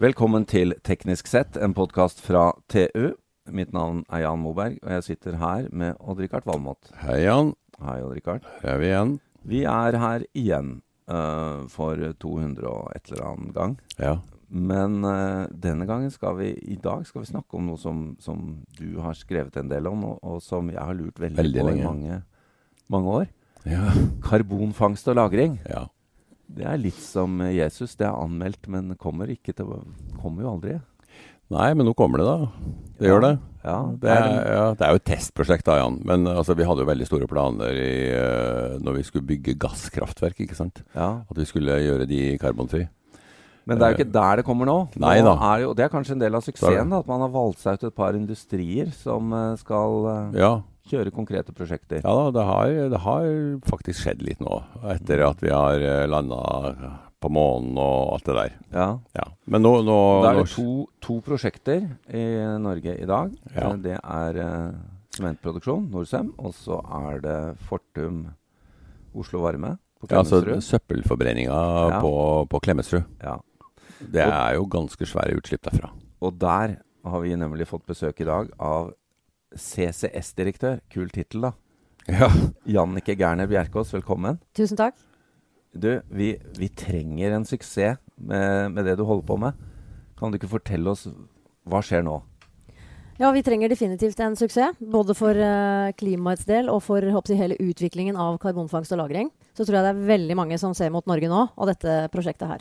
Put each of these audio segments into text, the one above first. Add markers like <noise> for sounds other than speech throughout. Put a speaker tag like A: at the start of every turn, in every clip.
A: Velkommen til Teknisk sett, en podkast fra TU. Mitt navn er Jan Moberg, og jeg sitter her med Odd-Rikard Valmot.
B: Hei, Jan.
A: Hei, Odd-Rikard.
B: Her er vi igjen.
A: Vi er her igjen eh, for 200 og et eller annet gang.
B: Ja.
A: Men eh, denne gangen skal vi, i dag skal vi snakke om noe som, som du har skrevet en del om, og, og som jeg har lurt veldig,
B: Veldig
A: på
B: lenge.
A: i mange, mange år.
B: Ja.
A: Karbonfangst og -lagring.
B: ja.
A: Det er litt som Jesus. Det er anmeldt, men kommer, ikke til, kommer jo aldri.
B: Nei, men nå kommer det, da. Det gjør det.
A: Ja,
B: Det er, ja, det er jo et testprosjekt, da, Jan. Men altså, vi hadde jo veldig store planer i, eh, når vi skulle bygge gasskraftverk, ikke sant.
A: ja.
B: At vi skulle gjøre de karbonfri.
A: Men det er jo ikke der det kommer nå. nå
B: Eh, Nei da.
A: Er det, jo, det er kanskje en del av
B: Så er
A: suksessen, da, at man har valgt seg ut et par industrier som eh, skal eh,
B: Ja.
A: kjøre konkrete prosjekter.
B: ja da, det har, det har faktisk skjedd litt nå. Etter at vi har landa på månen og alt det der.
A: Ja.
B: Ja. Men nå, nå,
A: Da er det
B: nå-
A: to, to prosjekter i Norge i dag.
B: Ja.
A: Eh, Det er eh, sementproduksjon, Norcem, og så er det Fortum Oslo Varme på
B: ja, altså,
A: Klemetsrud.
B: søppelforbrenninga
A: Ja.
B: på, på Klemetsrud.
A: Ja.
B: Det er jo ganske svære utslipp derfra.
A: Og der har vi nemlig fått besøk i dag av CCS-direktør, kul tittel da,
B: Ja.
A: Jannike Gerner Bjerkås, velkommen.
C: Tusen takk.
A: Du, vi, vi trenger en suksess med, med det du holder på med. Kan du ikke fortelle oss hva skjer nå?
C: Ja, vi trenger definitivt en suksess. Både for eh, klimaets del og for håper jeg, hele utviklingen av karbonfangst og -lagring. Så tror jeg det er veldig mange som ser mot Norge nå og dette prosjektet her.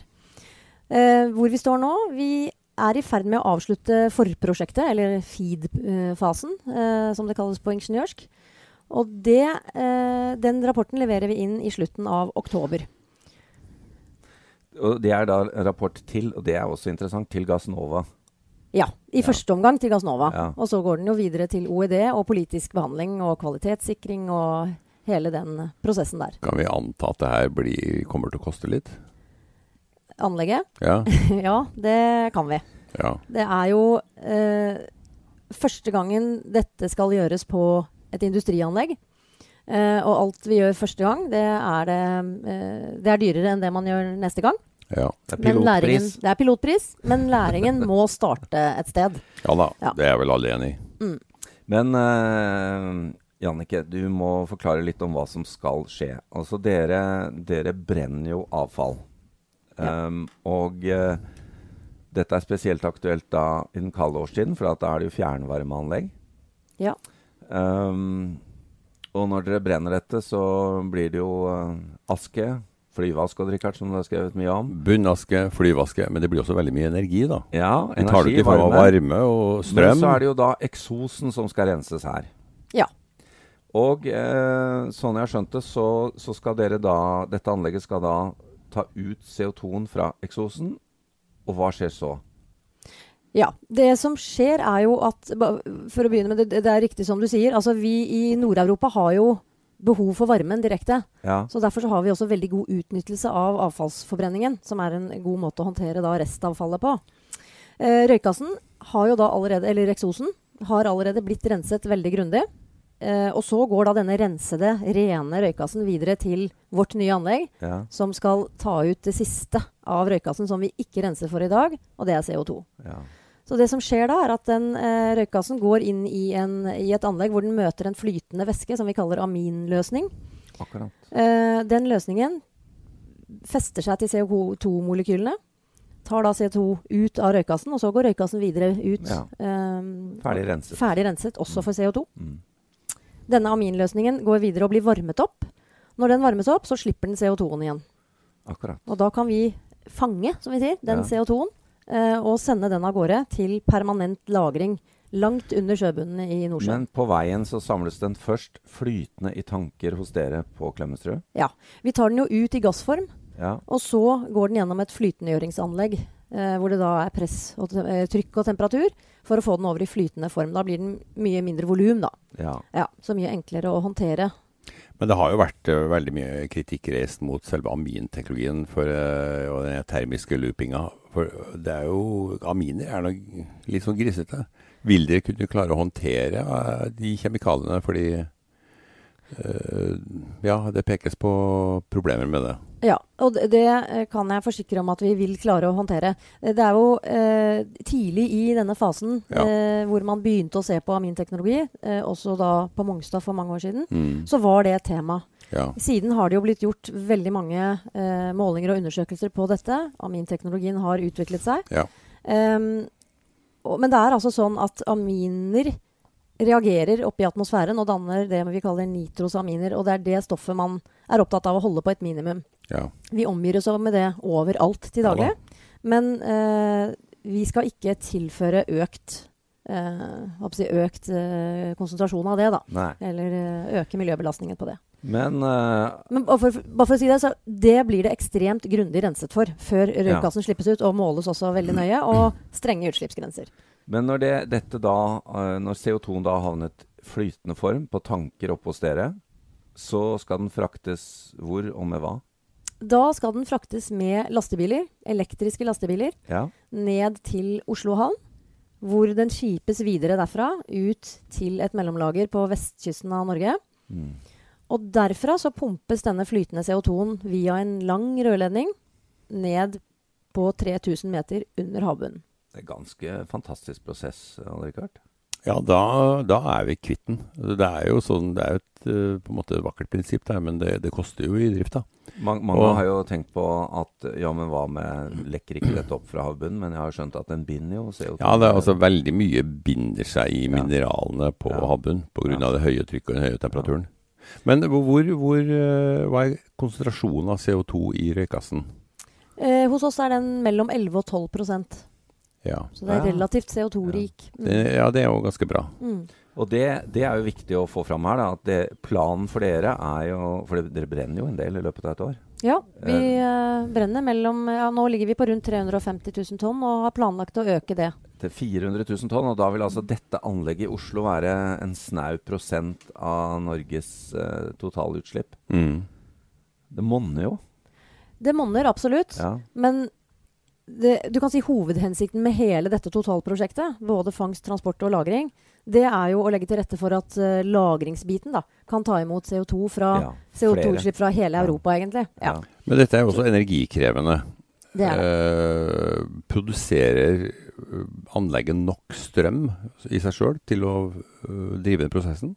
C: Eh, hvor vi står nå? Vi er i ferd med å avslutte forprosjektet, eller FEED-fasen, eh, som det kalles på ingeniørsk. Og det, eh, den rapporten leverer vi inn i slutten av oktober.
A: Og det er da en rapport til, og det er også interessant, til Gassnova.
C: Ja. I første omgang til Gassnova.
A: Ja.
C: Og så går den jo videre til OED og politisk behandling og kvalitetssikring og hele den prosessen der.
B: Kan vi anta at det her blir, kommer til å koste litt?
C: Anlegget? <laughs>
B: Ja.
C: ja, det kan vi.
B: ja.
C: Det er jo eh, første gangen dette skal gjøres på et industrianlegg. Eh, og alt vi gjør første gang, det er, det, eh, det er dyrere enn det man gjør neste gang.
B: ja.
A: Det er
C: Men læringen,
A: pilotpris.
C: det er pilotpris, men læringen må starte et
A: <laughs>
C: sted.
B: Ja da,
C: Ja.
B: det er vel alle enig i.
A: Men, eh, Jannicke, du må forklare litt om hva som skal skje. Altså, dere, dere brenner jo avfall.
C: Ja.
A: Um, og eh, dette er spesielt aktuelt da i den kalde årstiden, for at da er det jo fjernvarmeanlegg.
C: Ja.
A: Um, og når dere brenner dette, så blir det jo eh, aske. Flyveaske og drikkert, som du har skrevet mye om.
B: Bunnaske, flyvaske, men det blir også veldig mye energi, da.
A: Ja,
B: Vi tar det ut i form av varme og strøm.
A: Men så er det jo da eksosen som skal renses her.
C: Ja.
A: Og eh, sånn jeg har skjønt det, så, så skal dere da Dette anlegget skal da ta ut CO2-en fra eksosen. Og hva skjer så?
C: Ja. Det som skjer, er jo at ba- For å begynne med det, det er riktig som du sier. Altså, vi i Nord-Europa har jo behov for varmen direkte.
A: Ja.
C: Så Derfor så har vi også veldig god utnyttelse av avfallsforbrenningen, som er en god måte å håndtere da restavfallet på. Eh, røykgassen har jo da allerede, eller eksosen har allerede blitt renset veldig grundig. Eh, og så går da denne rensede, rene røykgassen videre til vårt nye anlegg,
A: ja,
C: som skal ta ut det siste av røykgassen som vi ikke renser for i dag, og det er CO2.
A: ja.
C: Så det som skjer da, er at den eh, røykgassen går inn i, en, i et anlegg hvor den møter en flytende væske som vi kaller aminløsning.
A: Akkurat.
C: Eh, den løsningen fester seg til CO2-molekylene. Tar da CO2 ut av røykgassen, og så går røykgassen videre ut.
A: Ja.
C: eh,
A: Ferdig renset.
C: ferdig renset, også for CO2.
A: Mm.
C: Denne aminløsningen går videre og blir varmet opp. Når den varmes opp, så slipper den CO2-en igjen.
A: Akkurat.
C: Og da kan vi fange, som vi sier, den
A: Ja.
C: CO2-en eh, og sende den av gårde til permanent lagring langt under sjøbunnen i Nordsjøen.
A: Men på veien så samles den først flytende i tanker hos dere på Klemetsrud.
C: Ja. Vi tar den jo ut i gassform,
A: Ja.
C: og så går den gjennom et flytendegjøringsanlegg. Eh, hvor det da er press og te- eh, trykk og temperatur for å få den over i flytende form. Da blir den mye mindre volum, da.
A: ja.
C: Ja, så mye enklere å håndtere.
B: Men det har jo vært eh, veldig mye kritikk reist mot selve aminteknologien for, eh, og den termiske loopinga. For det er jo Aminer er noe litt sånn grisete. Vil dere kunne klare å håndtere eh, de kjemikaliene for de Eh, ja, det pekes på problemer med det.
C: Ja, og det, det eh, kan jeg forsikre om at vi vil klare å håndtere. Eh, Det er jo eh, tidlig i denne fasen
B: Ja.
C: eh, hvor man begynte å se på aminteknologi, eh, også da på Mongstad for mange år siden,
B: Mm,
C: så var det et tema.
B: ja.
C: Siden har det jo blitt gjort veldig mange eh, målinger og undersøkelser på dette. Aminteknologien har utviklet seg.
B: Ja.
C: Ehm, og, men det er altså sånn at aminer reagerer oppe i atmosfæren og danner det vi kaller nitrosaminer. Og det er det stoffet man er opptatt av å holde på et minimum.
B: ja.
C: Vi omgir oss med det overalt til
B: Ja da.
C: daglig. Men eh, vi skal ikke tilføre økt, eh, hva skal jeg si, økt eh, konsentrasjon av det, da.
A: Nei.
C: Eller eh, øke miljøbelastningen på det.
A: Men eh,
C: Men bare for, bare for å si det, så det blir det ekstremt grundig renset for før røykgassen slippes ut, og måles også veldig nøye, og strenge utslippsgrenser.
A: Men når, det, dette da, eh, når CO2 da havnet flytende form på tanker oppe hos dere, så skal den fraktes hvor og med hva?
C: Da skal den fraktes med lastebiler, elektriske lastebiler,
A: Ja.
C: ned til Oslo havn, hvor den skipes videre derfra ut til et mellomlager på vestkysten av Norge.
A: Mm.
C: Og derfra så pumpes denne flytende CO2-en via en lang rørledning ned på 3000 meter under havbunnen.
A: Det er ganske fantastisk prosess, hadde det ikke vært?
B: ja da, da er vi kvitt den. Det er jo sånn, det er jo et eh, på en måte vakkert prinsipp, der, men det, det koster jo i drifta.
A: Mang- mange
B: Og-
A: har jo tenkt på at ja, men hva med Lekker ikke dette opp fra havbunnen? Men jeg har jo skjønt at den binder jo CO2.
B: Ja, det er altså veldig mye binder seg i
A: Ja.
B: mineralene på
A: Ja.
B: havbunnen pga.
A: Ja.
B: av det høye trykket og den høye temperaturen. Men hvor, hvor, hvor, eh, hva er konsentrasjonen av CO2 i røykassen?
C: Eh, hos oss er den mellom 11 og 12 prosent.
B: Ja.
C: Så det er
A: Ja.
C: relativt CO2-rik.
B: Det, ja, det er jo ganske bra.
C: Mm.
A: Og det, det er jo viktig å få fram her, da, at det, planen for dere er jo For det, dere brenner jo en del i løpet av et år.
C: Ja, vi eh, brenner mellom ja, Nå ligger vi på rundt 350 000 tonn og har planlagt å øke det.
A: Til 400 000 tonn. Og da vil altså dette anlegget i Oslo være en snau prosent av Norges eh, totalutslipp.
B: Mm.
A: Det monner jo.
C: Det monner absolutt,
A: Ja.
C: men det, du kan si hovedhensikten med hele dette totalprosjektet, både fangst, transport og lagring, det er jo å legge til rette for at eh, lagringsbiten da, kan ta imot CO2 fra
A: Ja, flere.
C: CO2-utslipp fra hele
A: Ja.
C: Europa, egentlig. Ja,
A: Ja.
B: Men dette er jo også energikrevende.
C: det er det.
B: Eh, produserer eh, anlegget nok strøm i seg sjøl til å eh, drive den prosessen?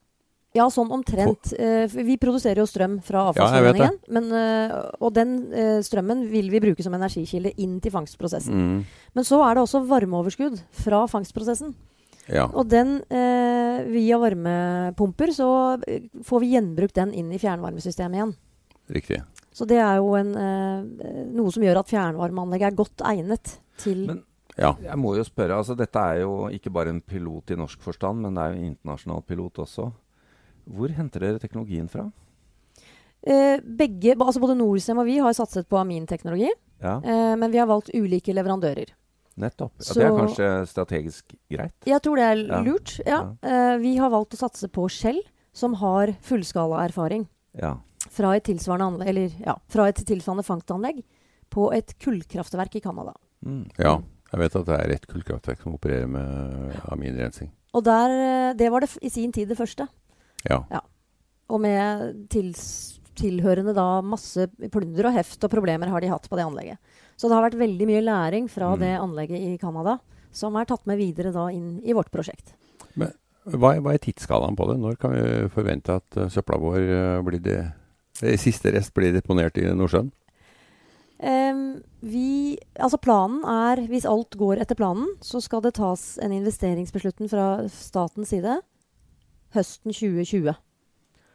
C: Ja, sånn omtrent. Eh, for vi produserer jo strøm fra
B: Ja, jeg vet det.
C: avfallsforbrenningen. men, eh, og den eh, strømmen vil vi bruke som energikilde inn til fangstprosessen.
B: Mm.
C: Men så er det også varmeoverskudd fra fangstprosessen.
B: Ja.
C: Og den, eh, via varmepumper, så eh, får vi gjenbrukt den inn i fjernvarmesystemet igjen.
B: Riktig.
C: Så det er jo en, eh, noe som gjør at fjernvarmeanlegget er godt egnet til
A: Men-
B: Ja.
A: Jeg må jo spørre, altså dette er jo ikke bare en pilot i norsk forstand, men det er jo en internasjonal pilot også. Hvor henter dere teknologien fra?
C: eh, begge, altså Både Norcem og vi har satset på aminteknologi,
A: Ja,
C: eh, men vi har valgt ulike leverandører.
A: nettopp. Ja,
C: så-
A: det er kanskje strategisk greit?
C: Jeg tror det er
A: Ja.
C: lurt. Ja. Eh, vi har valgt å satse på Shell, som har fullskalaerfaring
A: Ja.
C: fra et tilsvarende anlegg, eller, ja, fra et tilsvarende fangstanlegg på et kullkraftverk i Canada.
A: Mm.
B: ja. Jeg vet at det er ett kullkraftverk som opererer med aminrensing.
C: Og der, eh, det var det f i sin tid det første.
B: Ja.
C: Og med tils tilhørende da masse plunder og heft og problemer har de hatt på det anlegget. Så det har vært veldig mye læring fra
B: Mm.
C: det anlegget i Canada som er tatt med videre da inn i vårt prosjekt.
B: Hva, er- hva er tidsskalaen på det? Når kan vi forvente at eh, søpla vår eh, blir det, det siste rest blir deponert i Nordsjøen?
C: Ehm, vi, altså planen er, hvis alt går etter planen, så skal det tas en investeringsbeslutning fra statens side høsten 2020.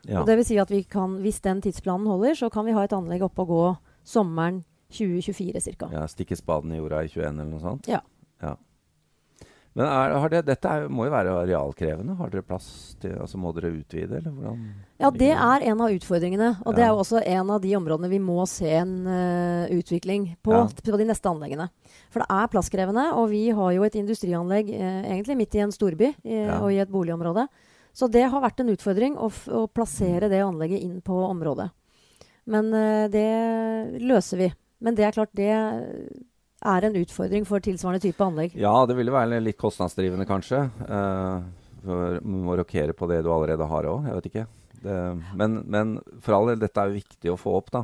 A: Ja.
C: Og det vil si at vi kan, hvis den tidsplanen holder, så kan vi ha et anlegg oppe og gå sommeren 2024 ca.
A: ja, stikke spaden i jorda i 21 eller noe sånt?
C: Ja.
A: Men er, har det, dette er, jo- må jo være arealkrevende? Har dere plass til altså Må dere utvide, eller hvordan?
C: Ja, det er en av utfordringene. Og det
A: Ja.
C: er jo også en av de områdene vi må se en eh, utvikling på,
A: Ja.
C: på de neste anleggene. For det er plasskrevende, og vi har jo et industrianlegg eh, egentlig midt i en storby eh,
A: Ja.
C: og i et boligområde. Så det har vært en utfordring å, f å plassere det anlegget inn på området. Men eh, det løser vi. Men det er klart, det er en utfordring for tilsvarende type anlegg.
A: Ja, det ville være litt kostnadsdrivende, kanskje. eh, for du må rokere på det du allerede har òg. Jeg vet ikke. Det, men, men for all del, dette er jo viktig å få opp, da.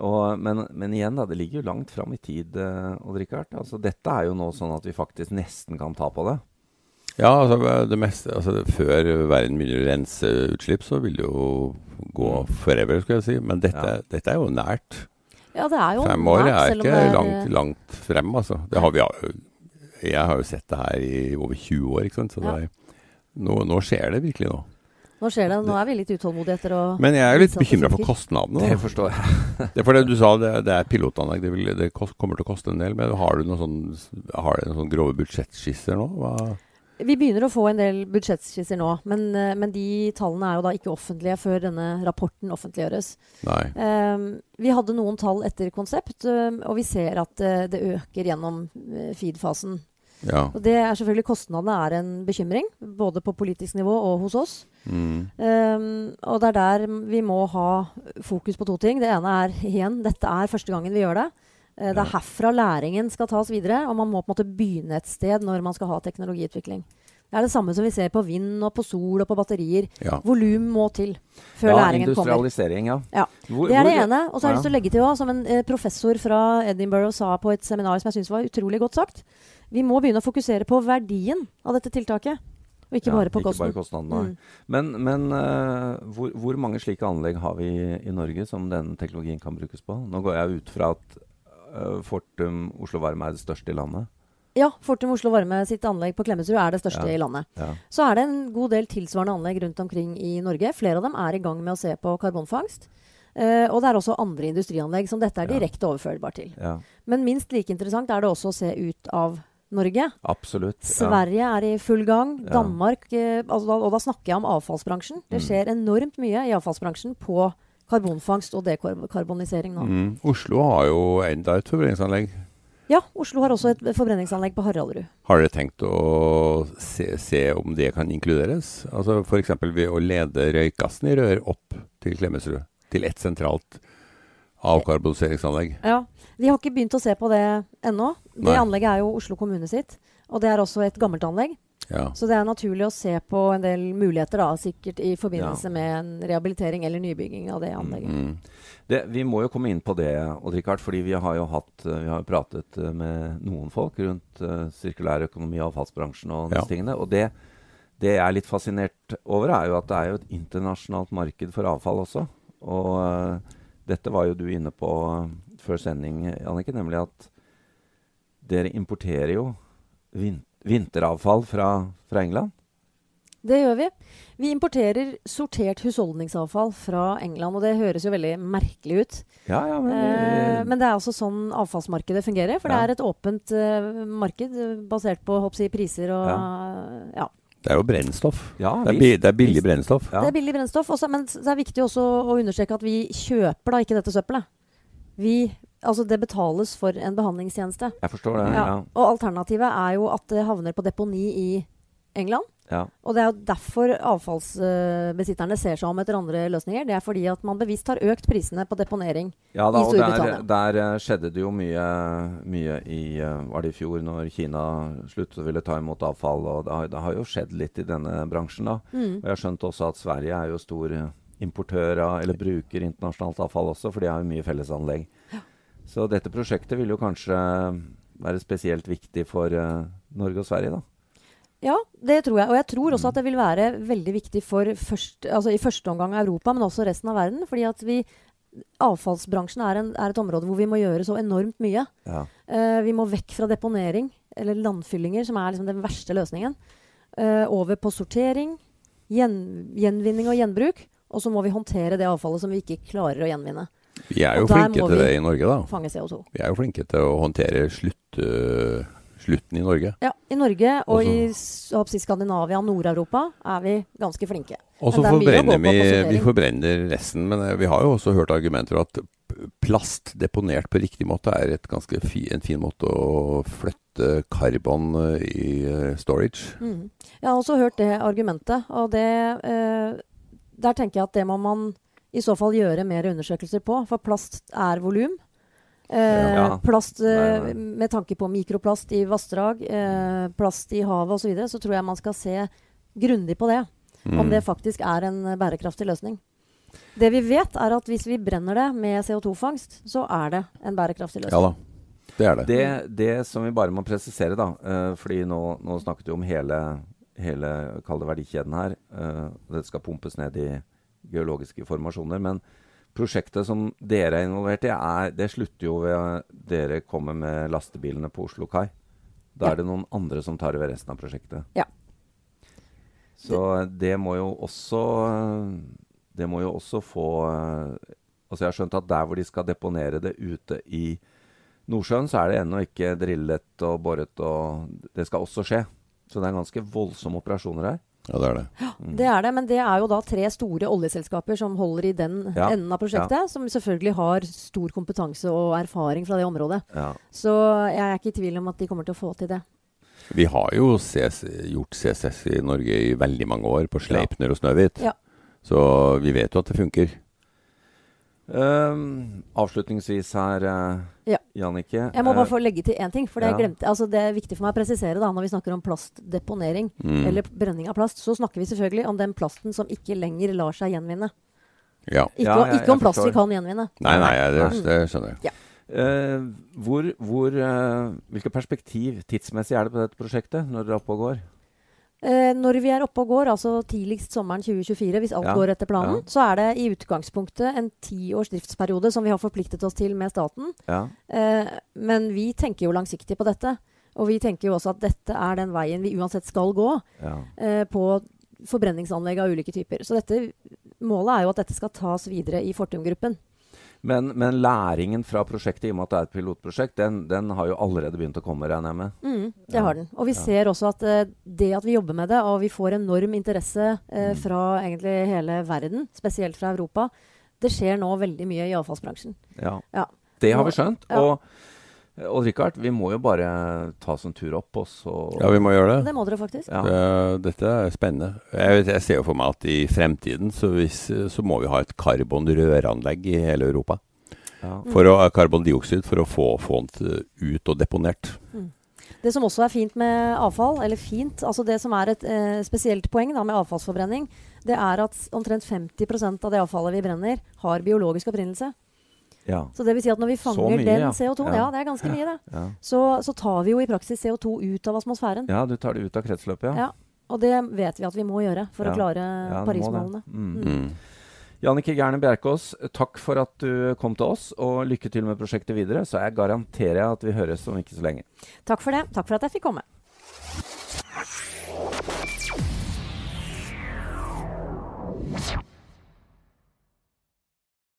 A: Og, men, men igjen, da, det ligger jo langt fram i tid, eh, Odd Rikard. Altså, dette er jo nå sånn at vi faktisk nesten kan ta på det.
B: Ja, altså det meste altså, Før verden begynner å rense utslipp, så vil det jo gå forever, skulle jeg si. Men dette,
A: Ja.
B: dette er jo nært.
C: Ja, det er jo
B: Fem år
C: nært,
B: er
C: selv om
B: ikke
C: det er- eh,
B: langt, langt frem, altså. Det har vi, jeg har jo sett det her i over 20 år, ikke sant. Så
C: Ja.
B: det er, nå, nå skjer det virkelig nå.
C: Nå skjer det. Nå er vi litt utålmodige etter å
B: Men jeg er litt
C: Innsatsen
B: bekymra for
C: synker.
B: kostnadene.
A: Det
B: da.
A: forstår jeg.
B: Det er for det du sa, det, det er pilotanlegg. Det, vil, det kost, kommer til å koste en del. Men har du noen sånn, har du noen sånn grove budsjettskisser nå? Hva?
C: Vi begynner å få en del budsjettskisser nå, men, eh, men de tallene er jo da ikke offentlige før denne rapporten offentliggjøres.
B: Nei.
C: Ehm, vi hadde noen tall etter konsept, ehm, og vi ser at eh, det øker gjennom eh, feed-fasen.
B: Ja.
C: Og det er selvfølgelig kostnadene er en bekymring, både på politisk nivå og hos oss.
B: Mm.
C: Ehm, og det er der vi må ha fokus på to ting. Det ene er igjen, dette er første gangen vi gjør det. Eh, Det er herfra læringen skal tas videre, og man må på en måte begynne et sted når man skal ha teknologiutvikling. Det er det samme som vi ser på vind og på sol og på batterier.
B: ja.
C: Volum må til før
A: ja,
C: læringen kommer.
A: industrialisering, ja.
C: Ja,
A: Hvor-
C: Det er det
A: hvor-
C: ene. Og så har
A: Ja.
C: jeg lyst til å legge til også, som en eh, professor fra Edinburgh sa på et seminar som jeg syns var utrolig godt sagt. Vi må begynne å fokusere på verdien av dette tiltaket, og ikke
A: Ja,
C: bare på Mm.
A: ikke
C: kosten.
A: bare kostnaden, nei. Men, men eh, hvor, hvor mange slike anlegg har vi i Norge som denne teknologien kan brukes på? Nå går jeg ut fra at eh, Fortum Oslo Varme er det største i landet.
C: Ja, Fortum Oslo Varme sitt anlegg på Klemetsrud er det største
A: Ja.
C: i landet.
A: Ja.
C: Så er det en god del tilsvarende anlegg rundt omkring i Norge. Flere av dem er i gang med å se på karbonfangst. Eh, og det er også andre industrianlegg som dette er
A: Ja.
C: direkte overførbar til.
A: ja.
C: Men minst like interessant er det også å se ut av Norge.
A: Absolutt. Ja.
C: Sverige er i full gang.
A: Ja. Mm.
C: Danmark eh, altså, da- Og da snakker jeg om avfallsbransjen. Det skjer enormt mye i avfallsbransjen på karbonfangst og dekarbonisering nå.
B: Mm. Oslo har jo enda et forbrenningsanlegg.
C: Ja, Oslo har også et forbrenningsanlegg på Haraldrud.
B: Har dere tenkt å se, se om det kan inkluderes? Altså F.eks. ved å lede røykgassen i rør opp til Klemetsrud. Til ett sentralt avkarboniseringsanlegg.
C: Ja, Vi har ikke begynt å se på det ennå. Det
B: Nei.
C: anlegget er jo Oslo kommune sitt. Og det er også et gammelt anlegg.
B: Ja.
C: Så det er naturlig å se på en del muligheter, da, sikkert i forbindelse med en rehabilitering eller nybygging av det anlegget.
B: Mm.
A: Det, vi må jo komme inn på det, Odd Rikard, fordi vi har jo hatt, eh, vi har jo pratet eh, med noen folk rundt eh, sirkulær økonomi og avfallsbransjen og disse
B: Ja.
A: tingene. Og det, det jeg er litt fascinert over, er jo at det er jo et internasjonalt marked for avfall også. Og eh, dette var jo du inne på eh, før sending, Jannicke, nemlig at dere importerer jo vin vinteravfall fra, fra England.
C: Det gjør vi. Vi importerer sortert husholdningsavfall fra England, og det høres jo veldig merkelig ut.
A: Ja, ja, men,
C: Eh, men det er altså sånn avfallsmarkedet fungerer, for det
A: Ja.
C: er et åpent eh, marked eh, basert på håper jeg, priser og ja.
B: Det er jo brennstoff.
A: ja,
B: Det er,
A: visst.
B: bi det er billig brennstoff.
A: Ja.
C: Det er billig brennstoff, også, men s- det er viktig også å understreke at vi kjøper da ikke dette søppelet. Vi, altså det betales for en behandlingstjeneste.
A: Jeg forstår det.
C: Ja. Og alternativet er jo at det havner på deponi i England.
A: ja, ja.
C: Og det er jo derfor avfallsbesitterne ser seg om etter andre løsninger. Det er fordi at man bevisst har økt prisene på deponering.
A: Ja da,
C: i
A: og der,
C: Storbritannia.
A: der eh, skjedde det jo mye, mye i eh, Var det i fjor, når Kina sluttet å ville ta imot avfall? Og det har, det har jo skjedd litt i denne bransjen, da. Og jeg har skjønt også at Sverige er jo stor eh, importør av, eller bruker internasjonalt avfall også, for de har jo mye fellesanlegg. Så dette prosjektet vil jo kanskje eh, være spesielt viktig for eh, Norge og Sverige, da.
C: Ja, det tror jeg. Og jeg tror også at det vil være veldig viktig for først, altså i første omgang Europa, men også resten av verden. Fordi at vi Avfallsbransjen er, en, er et område hvor vi må gjøre så enormt mye.
A: Ja.
C: Eh, vi må vekk fra deponering, eller landfyllinger, som er liksom den verste løsningen. eh, over på sortering, gjen, gjenvinning og gjenbruk. Og så må vi håndtere det avfallet som vi ikke klarer å gjenvinne.
B: Vi er jo
C: Og der
B: flinke
C: må
B: til
C: vi-
B: det i Norge, da.
C: Fange CO2.
B: Vi er jo flinke til å håndtere slutt, øh, slutten i Norge.
C: Ja, I Norge og
B: Og så-
C: i s- håper jeg, Skandinavia og Nord-Europa er vi ganske flinke.
B: Og så
C: Men det er
B: forbrenner
C: mye å gå
B: vi,
C: på på
B: vi
C: sortering.
B: forbrenner resten, men eh, vi har jo også hørt argumenter at p- plast deponert på riktig måte er et ganske fi, en fin måte å flytte karbon eh, i eh, storage.
C: Mm. Jeg har også hørt det argumentet, og det eh, Der tenker jeg at det må man i så fall gjøre mer undersøkelser på, for plast er volum. Eh,
A: Ja.
C: Plast eh,
A: Nei, nei.
C: med tanke på mikroplast i vassdrag, eh, plast i havet osv., så, videre, så tror jeg man skal se grundig på det.
A: Mm.
C: om det faktisk er en eh, bærekraftig løsning. Det vi vet, er at hvis vi brenner det med CO2-fangst, så er det en bærekraftig løsning.
B: Mm. Ja da, det er det.
A: Det, det som vi bare må presisere, da, eh, fordi nå, nå snakket vi om hele, hele kall det verdikjeden her. eh, og Dette skal pumpes ned i geologiske formasjoner. Men prosjektet som dere er involvert i, er, det slutter jo ved dere kommer med lastebilene på Oslo kai. Da
C: Ja.
A: er det noen andre som tar over resten av prosjektet.
C: Ja.
A: Så det må jo også eh, Det må jo også få eh, Altså jeg har skjønt at der hvor de skal deponere det ute i Nordsjøen så er det ennå ikke drillet og boret, og det skal også skje. Så det er ganske voldsomme operasjoner her.
B: Ja, det er det.
A: Mm.
C: Det er det, men det er jo da tre store oljeselskaper som holder i den
A: Ja,
C: enden av prosjektet, som selvfølgelig har stor kompetanse og erfaring fra det området.
A: Ja.
C: Så jeg er ikke i tvil om at de kommer til å få til det.
B: Vi har jo CS, gjort CCS i Norge i veldig mange år, på Sleipner og Snøhvit.
C: Ja.
B: Så vi vet jo at det funker.
A: Ehm, avslutningsvis her, eh,
C: Ja.
A: Jannicke.
C: Jeg må
A: eh,
C: bare få legge til én ting, for det,
A: Ja.
C: glemte, altså det er viktig for meg å presisere da, når vi snakker om plastdeponering
B: Mm.
C: eller brenning av plast, så snakker vi selvfølgelig om den plasten som ikke lenger lar seg gjenvinne.
B: Ja.
C: Ikke,
A: Ja, jeg-
C: ikke om
A: jeg
C: plast vi
A: forstår.
C: kan gjenvinne.
B: Nei, nei, det, det skjønner jeg.
A: eh, hvor, hvor, eh, hvilket perspektiv tidsmessig er det på dette prosjektet når dere er oppe og går?
C: Eh, når vi er oppe og går, altså tidligst sommeren 2024, hvis alt
A: Ja,
C: går etter planen,
A: ja.
C: så er det i utgangspunktet en tiårs driftsperiode som vi har forpliktet oss til med staten.
A: Ja.
C: Eh, men vi tenker jo langsiktig på dette. Og vi tenker jo også at dette er den veien vi uansett skal gå
A: ja.
C: eh, på forbrenningsanlegg av ulike typer. Så dette, målet er jo at dette skal tas videre i Fortum-gruppen.
A: Men, men læringen fra prosjektet, i og med at det er et pilotprosjekt, den, den har jo allerede begynt å komme, regner jeg med.
C: Mm, det
A: Ja,
C: har den. Og vi
A: ja.
C: ser også at eh, det at vi jobber med det, og vi får enorm interesse eh,
A: Mm.
C: fra egentlig hele verden, spesielt fra Europa, det skjer nå veldig mye i avfallsbransjen.
A: Ja.
C: Ja.
A: Det har vi skjønt.
C: Ja.
A: Og, og Richard, vi må jo bare ta oss en tur opp, og så
B: Ja, vi må gjøre det.
C: Det må dere faktisk.
A: Ja.
B: Det- Dette er spennende. Jeg, vet, jeg ser jo for meg at i fremtiden så, hvis, så må vi ha et karbonrøranlegg i hele Europa.
A: Ja.
B: For å, karbondioksid for å få, få den ut og deponert.
C: Mm. Det som også er fint med avfall, eller fint, altså det som er et eh, spesielt poeng da, med avfallsforbrenning, det er at omtrent 50 av det avfallet vi brenner, har biologisk opprinnelse.
A: Ja.
C: Så det vil si at når vi fanger
A: mye,
C: den
A: ja.
C: CO2-en, ja.
A: Ja.
C: det er ganske mye det,
A: Ja.
C: så, så tar vi jo i praksis CO2 ut av atmosfæren.
A: Ja, du tar det ut av kretsløpet, ja.
C: Ja. Og det vet vi at vi må gjøre for
A: Ja.
C: å klare
A: Ja, du må det.
C: Parismålene.
A: Mm.
B: Mm.
A: Jannicke Gerne Bjerkås, takk for at du kom til oss, og lykke til med prosjektet videre. Så jeg garanterer at vi høres om ikke så lenge.
C: Takk for det. Takk for at jeg fikk komme.